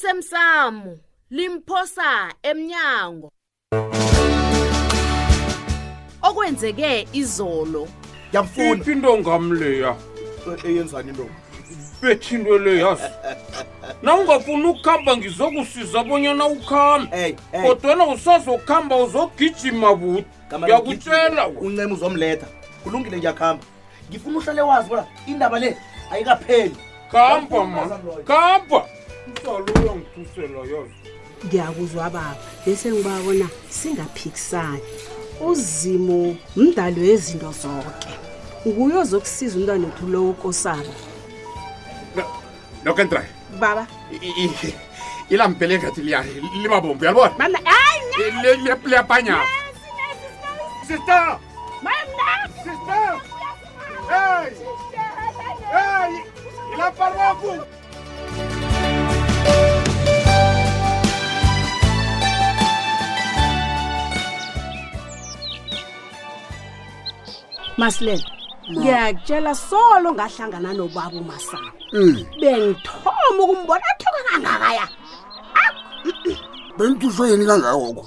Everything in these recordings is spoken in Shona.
osemsamo limphosa emnyango okwenzeke izolo ngiyamfuna iphi intongamleya leya eyenzani into bethindwe le yazi na ungafuni ukukhamba ngizokusiza bonyana ukhambe ey ey kodwana usazokhamba uzogijima buti gama ngiyakutshela lengijima. we uncema uzomletha kulungile ngiyakhamba ngifuna uhlale wazi bona indaba le ayikapheli khamba ma khamba usaloya ngithusela yazi ngiyakuzwa baba bese ngibabona singaphikisani uzimo mdalo wezinto zonke nguye ozokusiza umntwana wethu lowo kosabo loko entra baba ilambe lengathi liya libabomvu uyalibona bana hayi Le- le- liyapanyana sister sister hey hey ilaparwaku masilela ngiyakutshela solo ngahlangana nobaba umasana bengithoma ukumbona athoka kangakaya bentusho yini kangakoko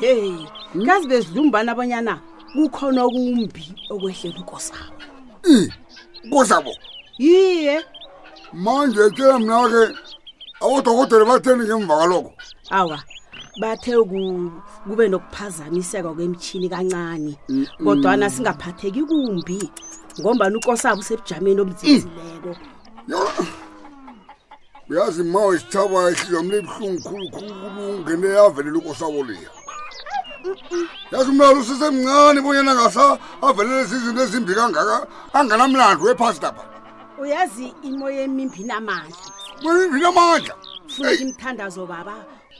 heyi kazi besidlumbana abonyana kukhona okumbi okwehlela ukosabo i kusabo yiye manje ke mna-ke abodokotela batheni ngemva kaloko awa bathe ku- kube nokuphazamiseka kwemtshini kancane kodwana singaphatheki kumbi ngombani ukosabo usebujameni obuzizileko Yo- uyazi ma wesithaba ihliziyo mle ibuhlungu khulukhulu ungene yavelela ukosabo liya yazi umlalo usesemncane bonyana ngasa avelele zizinto ezimbi kangaka anganamlandu wephasi lapha uyazi imoya emimbi namandla vinamandla fundi imthandazo baba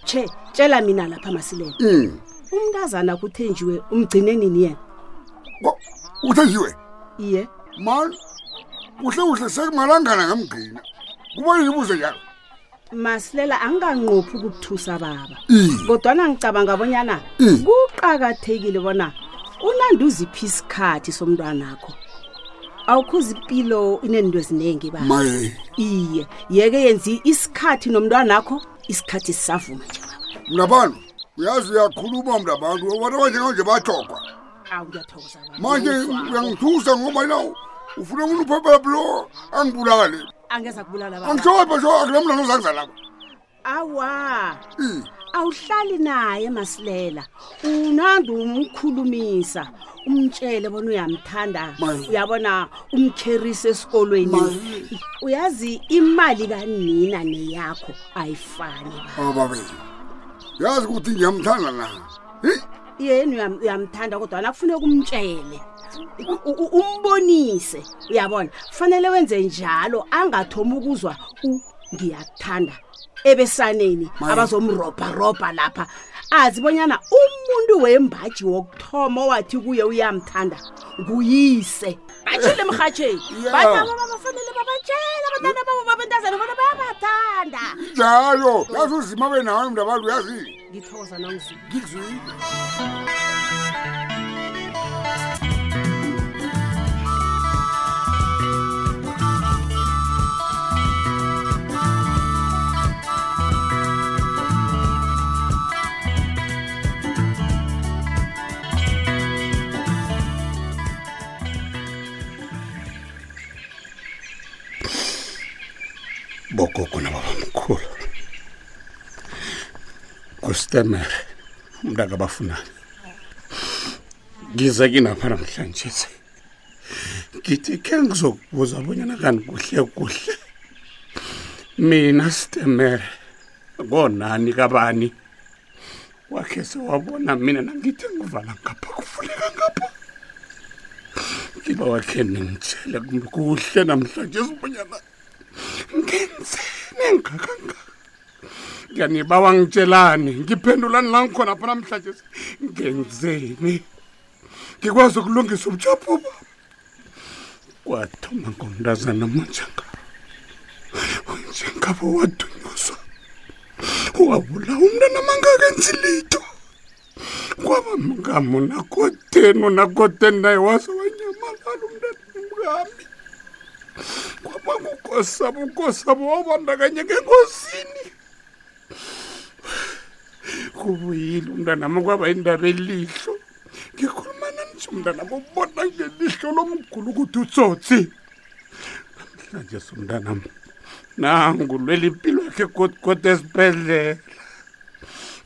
tshe tshela mina lapha masilelo Mm. umntazana kuthenjiwe umgcine nini yena uthenjiwe iye mani kuhle kuhle sekumalangana ngamgqina kubanini ubuze njalo masilela angikanqophi ukukuthusa baba Iye. kodwana ngicabanga bonyana Iye. kuqakathekile bona unandi uziphi isikhathi somntwanakho awukhuza impilo inento eziningi baba maye iye yeke yenzi isikhathi nomntwanakho isikhathi sisavuma nje baba mnabantu uyazi uyakhuluma mnabantu abantu abanjenganje bahlogwa awu ngiyathokoza baba. manje uyangithusa ngoba nawo ufuna umuntu uphephepulo angibulale angeza kubulala baba angihlophe sho akunamlana ozakuza lapha awa awuhlali naye masilela unandi umkhulumisa umtshele bona uyamthanda Maye. uyabona umkherisa esikolweni uyazi imali kanina neyakho ayifani ba. ababeli uyazi ukuthi ngiyamthanda na Hi, yena uyam- uyamthanda kodwa nakufuneka umtshele U- u- umbonise uyabona kufanele wenze njalo angathomi ukuzwa u ngiyakuthanda ebesaneni Maye. abazomrobharobha lapha azibonyana umuntu wembaji wokuthoma owathi kuye uyamthanda nguyise batshile emrhatsheni Yeah. bataba bafanele babatshele abantwana babo babentazana bona bayabathanda njalo yazi uzima be nawe mnabantu uyazi ngithokoza nomzini ngikuzwile bogogo nababamkhulu kustemere umntaka abafunayo ngize kinapha namhlanje ngithi khe ngizokubuza abonyana kani kuhle kuhle mina sitemere ngonani kabani wakhe sewabona mina nangithi ngivala ngapha kuvuleka ngapha ngiba wakhe ningitshele kuhle namhlanje sibonyana ngenzeni engakangaka ngiyaniba wangitshelani ngiphendulani la ngikhona pha namhlanje ngenzeni ngikwazi ukulungisa ubutshapho bam kwathoma ngomntazana monjenga unjengabo wadunyuzwa wabulawa umntana mangakenzi lito kwaba mngamo nakoteni unakoteni naye waze wanyamalala umntana umngami kwaba kukosabo ukosabo wabandakanyeka engosini kubuyile umntanami kwaba indaba elihlo ngikhuluma nanje umntanami ubona ngelihlo lomgulu ukuthi utsotsi namhlanje somntanami nangulwela impilo yakhe kodkodwa esibhedlela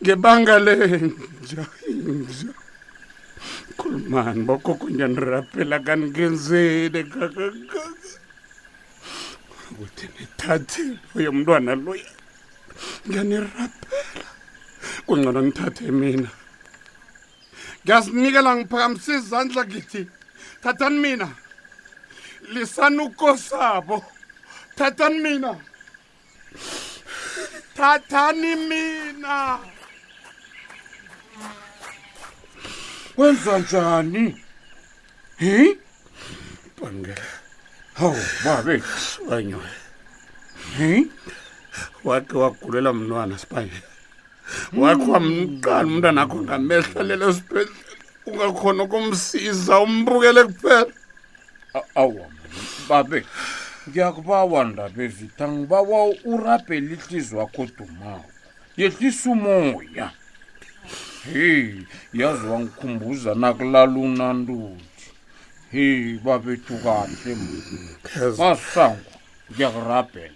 ngebanga lenja inja khulumani bokhokhojanirapela kaningenzeli kakakaka ukuthi nithathe loyo mntwana loya ngiyanirapela kungcono ngithathe mina ngiyazinikela ngiphakamisa izandla ngithi thathani mina lisani ukosabo thathani mina thathani mina kwenza njani hi bangela hawu babe sukanyoya hi wakhe wagulela mntwana sibanje wakhe wamqala umntwana akho ngamehlo lelo sibhedlela ungakhona ukumsiza umbukele kuphela A- awa babe ngiyakubawa ndaba evita ngibawa urabhele ihlizi wakho dumawo yehlisa umoya heyi yazi wangikhumbuza nakulala unantuthi heyi babethu kahle Yes. masango ngiyakurabhela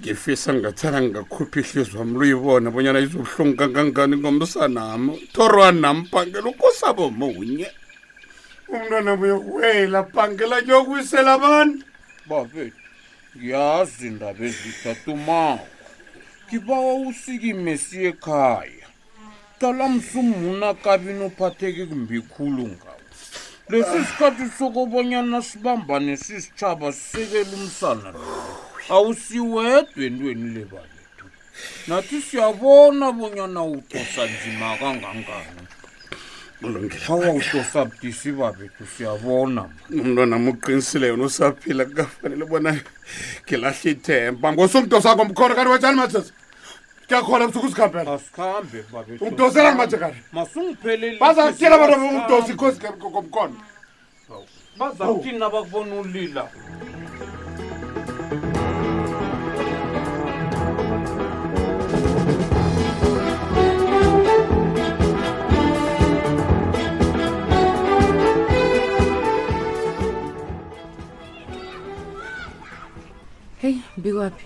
ngifisa ngathela ngingakhuphi ihlizi wami luyibona bonyana izobuhlungu kangangani ngomsanami thorwanami bhangela ukosabo munye umntwana buyokuwela bhangela kuyokuwisela abantu babethu ngiyazi ndaba ezita dumawo ngibawa usikime siye ekhaya cala msumuna kabini uphatheke kumbi khulu ngawo lesi sikhathi sokobonyana sibambane sisitshaba sisekele umsana lowo awusiwedwe entweni le babethu nathi siyabona bonyana udosa nzima kangangani awawudosa budisi babethu siyabona ma umntwanami uqinisile yona usaphila kukafanele ubona ngilahle ithemba ngosumdosa akho mkhona kanti wetshani matheza kuyakhola busuku uzikhambela asikhambe babethu ungidosela ngimajekane masungipheleli bazakutshela abantu abamdosa ikhosi ngomkhona bazakuthini nabakubona ulila heyi bikwaphi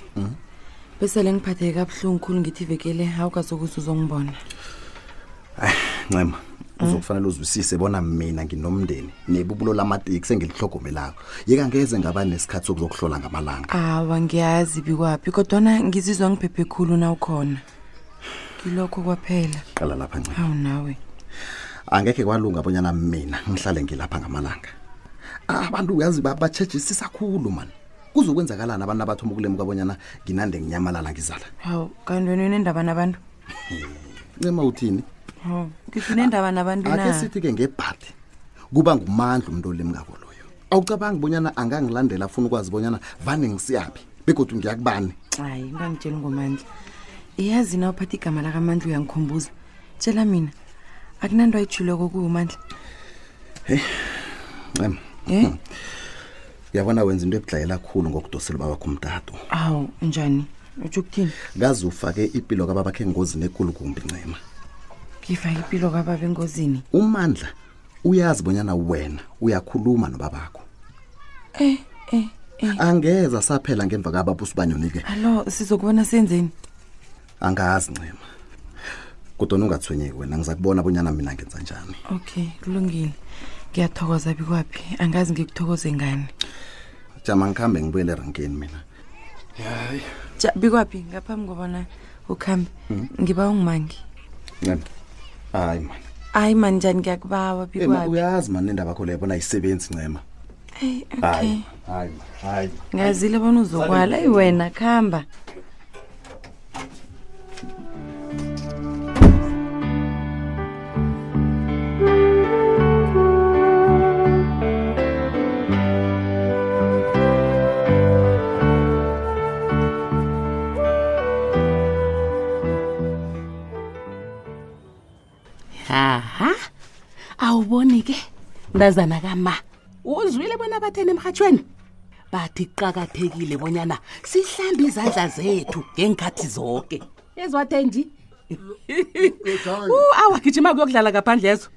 besele ngiphatheke kabuhlungu khulu ngithi ivekele awukazokuthi uzongibona ncema uzokufanele uzwisise bona mina nginomndeni nebubulo lamateksi engilihlogomelako yeka ngeze ngaba nesikhathi sokuzokuhlola ngamalanga awa ngiyazi bikwaphi kodwana ngizizwa ngiphephe khulu na ukhona ngilokho kwaphela qala lapha ncema hawu nawe angekhe kwalunga abonyana mina ngihlale ngilapha ngamalanga abantu uyazi batshejisisa khulu mani kuzokwenzakalani abantu abathoma ukulemuka abonyana nginande nginyamalala ngizala hawu kanti wena unendaba nabantu ncema uthini hawu ngithi unendaba nabantu na ake sithi-ke ngebhadi kuba ngumandla umuntu olemukako loyo awucabangi bonyana angangilandela afuna ukwazi bonyana vane ngisiyaphi begodwa ngiyakubani hayi ngangitshela ngomandla iyazi na uphatha igama lakamandla uyangikhumbuza tshela mina akunanto ayitshileko kuwumandla ncema Hmm. um uyabona wenza into ebudlayela khulu ngokudosela ubabakho umtato awu njani utsho ukuthini kaze ufake impilo kababakho engozini ekulu kumbi ncema ngifake impilo kababa engozini umandla uyazi bonyana wena uyakhuluma nobabakho Eh, eh, angeza saphela ngemva kababa usibanyoni-ke alo sizokubona senzeni angazi ncema kodwana ungathwenyeki wena ngiza kubona bonyana mina ngenza njani okay kulungile ngiyathokoza bikwaphi angazi ngikuthokoze ngani jama ngikhambe ngibuyele erankeni mina ja bikwaphi ngaphambi kobana ukuhambe Hmm. ngiba ungimangi ncema hayi mani hayi mani njani ngiyakubawa Eh, ma, bikwaphi uyazi mani indaba yakho leyo bona ayisebenzi ncema Hey, okay hayi hayi ma, hayi ma. ngazile bona uzokwala eyi wena kuhamba haha awuboni ke mntazana kama uzwile bona bathena emhatshweni bathi qakathekile bonyana sihlambe izandla zethu ngeenkhathi zonke ezwathe nje U, awa gijima kuyokudlala ngaphandle yezo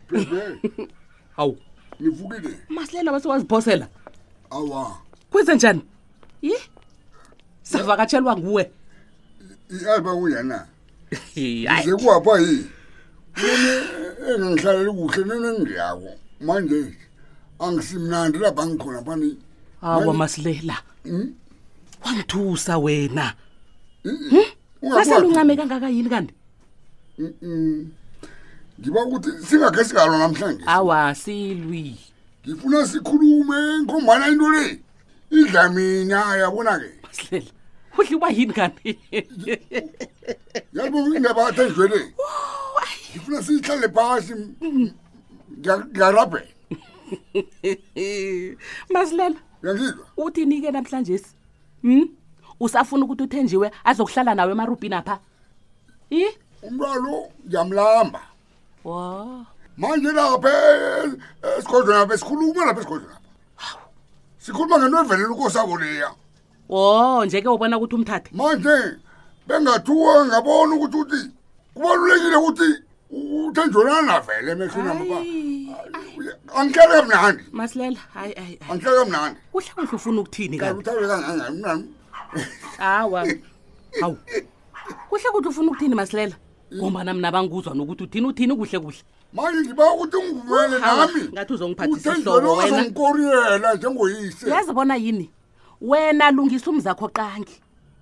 hawu nivukile masilela basewazibhosela awa kwenze njani yi savakatshelwa nguwe yazi uba kunjani na hayi ze kuhapha yini Mina engingihlaleli kuhle nenengiyako manje angisimnandi lapha ngikhona phani Hmm? awa masilela wangithusa wena Hmm? ungakwakho naseluncame kangaka yini kanti ngiba ukuthi singakhe sikalo namhlanje awa silwi ngifuna sikhulume ngombana into le idla mina yabona-ke masilela udle uba yini kanti yalibo indaba athenjwele ngifuna siyihlale phasi ngiyarabhela masilela uyangizwa uthini ke namhlanje um usafuna ukuthi uthenjiwe azokuhlala nawe emarubhini apha i umntwalo ngiyamlamba wo manje lapha e- esigodlweni apha sikhuluma lapha esigodlweni apha sikhuluma ngento evelela ukosabo leya wo nje ke ubona ukuthi umthathe manje bengathuka ngabona ukuthi uthi kubalulekile ukuthi uthenjolana vele emehlweni amaba Hayi, angihlale kamnandi masilela hayi hayi hayi. angihlale kamnandi kuhle kuhle ufuna ukuthini kanti uthale kangangani mnani hawa hawu kuhle kuhle ufuna ukuthini masilela ngombana mna banguzwa nokuthi uthini uthini kuhle kuhle manje ngiba ukuthi ungivumele Hawa, nami ngathi uzongiphathisa Uthenjwele ihloko wena. wazongikoriyela njengoyise yazi bona yini wena lungisa umzakho qangi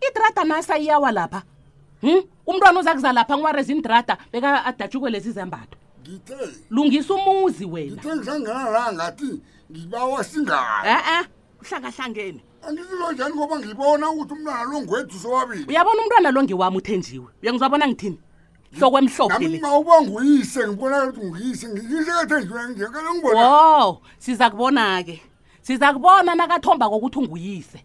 idrada nasa iyawa lapha hm umntwana oza kuza lapha ngiwarezini drada beka adatshukwe lezi zembatho ngithe lungisa umuzi wena ngithe ngisangena la ngathi ngibawa singane Eh? e-e uhlangahlangene angizilo njani ngoba ngibona ukuthi umntwana lo ngwethuso wabili uyabona umntwana lo ngiwami uthenjiwe uyangizwa bona ngithini hlokwemhlophe nami le mawuba nguyise ngibonakala ukuthi nguyise ngiyisekathenjiwe njekale ngibona wo siza kubona-ke siza kubona nakathomba kokuthi unguyise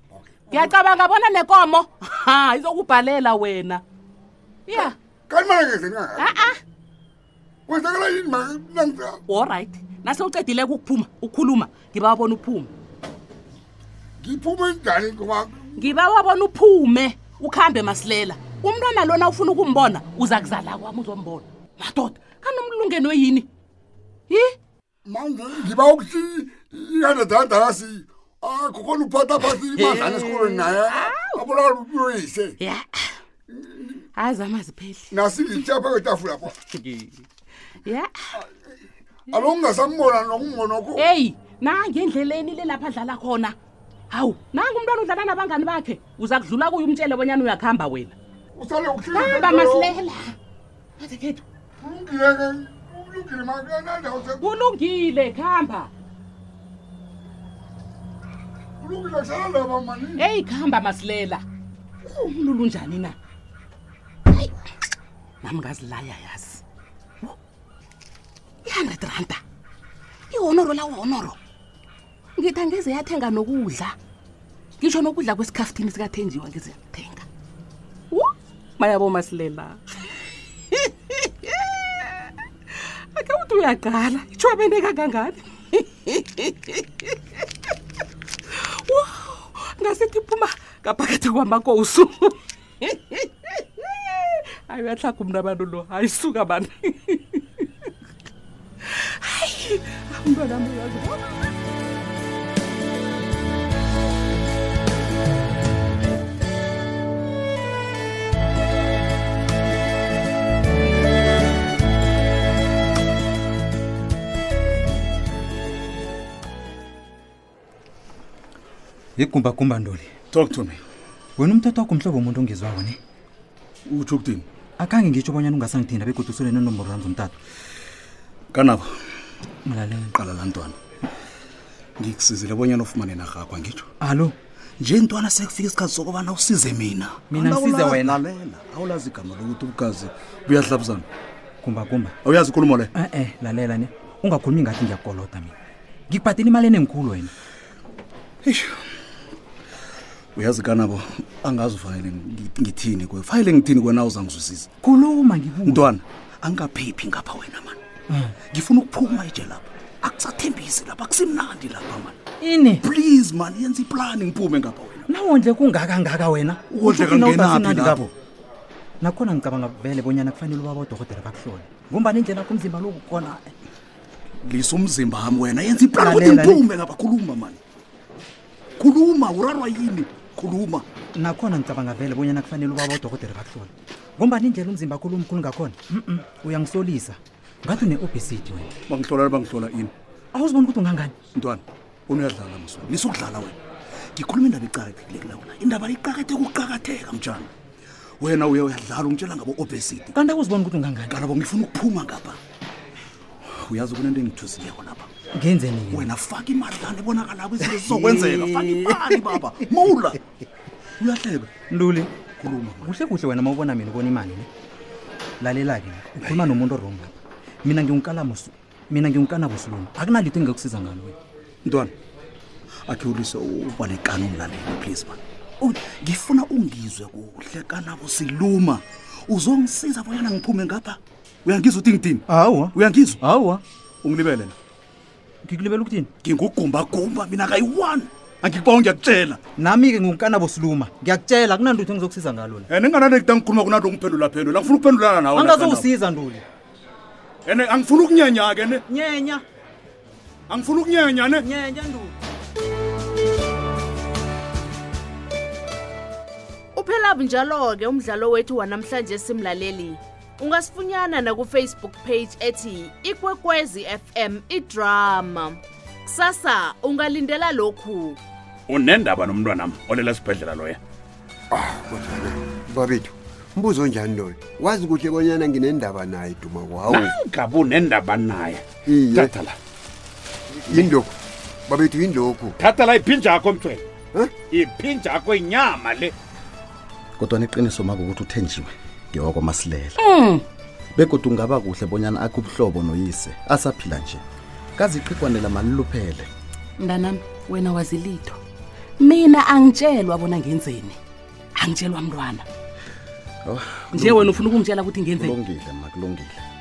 ngiyacabanga bona nekomo ha izokubhalela wena ya kanti manakezeni kangaka a-a kwenzakala yini manangisa allright nase ucedileke ukuphuma ukukhuluma ngiba wabona uphume ngiphume njani ngoba ngiba wabona uphume ukuhambe masilela umntwana lona ufuna ukumbona uza kuzala kwami uzombona madoda kanomlungenwe yini yi manje ngiba ukuthi ikandadadasi akukhona uphatha phasi imadlana esikolweni naye abonakala ukuthi uyoyise ya hayi amazipheli nasingitshapha kwetafula pho ya alo ngingasambona nokungonokho Eh. heyi nangendleleni lelapha adlala khona hawu nangu umntwana udlala nabangani bakhe uza kudlula kuye umtshele bonyana uyakuhamba wena usale hamba masilela azekhethu uhlulungile kulungile kuhamba kusalalaba mani heyi kuhamba masilela umlulu unjani na Hayi, nami ngazilaya yazi i-hundred randa ihonoro lawahonoro ngithi angeze yathenga nokudla ngisho nokudla kwesikhafutini sikathenjiwa ngeze yathenga mayabo masilela akhe uthi uyagala itshwabene kangangani ngasithi phuma ngaphakathi kwamakowusu hayi uyahlaga umntu abantu lo hayi suka bani hayi umntwanam uyazi igumbagumba ntoli talk to me wena umthetho wakho mhlobo womuntu ongezwako ne utsho ukuthini akhange ngitsho obanyana ungasangithinda begodwa usole nenomboro zami zomtato kanabo mlalela qala la ntwana ngikusizile bonyana ufumane narhakho angitsho alo nje ntwana sekufika isikhathi sokubana usize mina Mina ngisize wena. lalela awulazi igama lokuthi ubugazi buyahlabuzana gumbagumba awuyazi ikulumo leyo e-e lalela ne ungakhulumi ngathi ngiyakoloda mina ngikubhathela imali enengikhulu wena uyazi kanabo angazi ufanele ngi- ngithini kwe fanele ngithini kwena uzangizwisisa khuluma Eh. ngikuwe mntwana angaphephi ngapha wena mani ngifuna ukuphuma ije lapha akusathembisi lapha akusimnandi lapha mani ini please mani yenza iplani ngiphume ngapha wena nawondle kungakangaka wena Uwondleka Uthi nawuthi ngenaphi asimnandi lapho? kapho. nakhona ngicabanga vele bonyana kufanele ubaba udorhodere bakuhlole ngombani indlela akho umzimba lo kukona lisa umzimba hami wena yenza iplan ukuthi ngiphume ngapha khuluma mani khuluma urarwa yini khuluma nakhona ngicabanga vele bonyana kufanele ubaba udorhodere bakuhlole ngombani indlela umzimba akhulu omkhulu ngakhona mm uyangisolisa ngathi une-obesity wena bangihlola bangihlola ini awuzibona ukuthi ungangani mntwana unuyadlala mso lisa ukudlala wena ngikhuluma indaba iqakathekilekilakona indaba iqakatheke ukuqakatheka mtshana wena uye uyadlala ungitshela ngabo-obesity kanti akuzibona ukuthi ungangani kalabo ngifuna ukuphuma ngapha uyazi kunento engithuzileko lapha ngenzeni wena faka imadlana ebonakalabo izinto zizokwenzeka faka imali baba mawula uyahleba ntuli khuluma kuhle kuhle wena mawubona mina ubona imali ne lalela-ke ukhuluma nomuntu orong lapha mina ngiwunkalamus mina ngiwunkanabusilungu akunalito engingekusiza ngalo wena mntwana akhe ulise uba nekani umlaleli please man U- ngifuna ungizwe kuhle kalabo siluma uzongisiza boyana ngiphume ngapha uyangizwa ukuthi ngidini hawa uyangizwa hawa ungilibele na ngikulibela ukuthini ngingugumbakumba mina kayi-one angikuba ngiyakutshela nami-ke ngiwunkanabusiluma ngiyakutshela akunalito engizokusiza ngalo la and ingananekita ngikhuluma kunanto ngiphendula phendula angifuna ukuphendulana nawe angazowusiza ntuli and angifuna ukunyenya-ke ne nyenya angifuna ukunyenya ne nyenya ntuli Uphela bunjalo ke umdlalo wethu wanamhlanje simlaleli. Ungasifunyana na ku Facebook page ethi Ikwekwezi FM iDrama. Sasa ungalindela lokhu. unendaba nomntwanam olela sibhedlela loya babethu mbuzo onjani loyo wazi kuhle bonyana nginendaba naye duma kwawo nangabe unendaba naye iye thatha la yini lokhu babethu yini lokhu thatha la iphinjakho mthwele iphinjakho inyama le kodwana iqiniso mako ukuthi uthenjiwe ngewakwamasilela Mm. begodwa ungaba kuhle bonyana akhe ubuhlobo noyise asaphila nje kazi iqhigwanela maliluphele mntanami wena wazi litho mina angitshelwa bona ngenzeni angitshelwa mntwana Oh, nje wena ufuna ukungitshela ukuthi ngenzeni kulungile ma kulungile